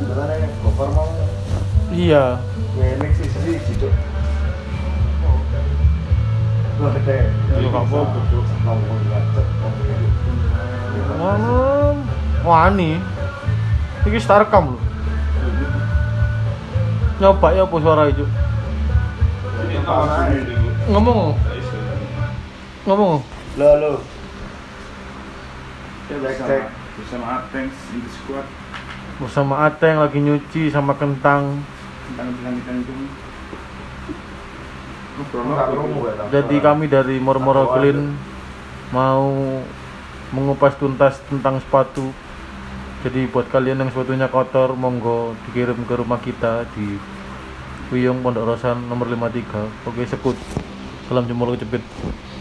sebenarnya cover mau Iya. gue mix sih sih gitu gue gede Iya, Kak Bob. duduk ngomong ngacet ngomong gitu Mana? Wani. Iki star rekam lho. Nyoba ya apa suara itu. Ngomong, ngomong. lo lo Bersama, bersama Atengs in the squad Bersama Ateng lagi nyuci sama kentang. tentang bilang-bilang itu Jadi kami dari Mormoro Clean mau mengupas tuntas tentang sepatu. Jadi buat kalian yang sepatunya kotor, monggo dikirim ke rumah kita di Wiyung Pondok Rosan nomor 53. Oke, sekut. Salam jempol kejepit.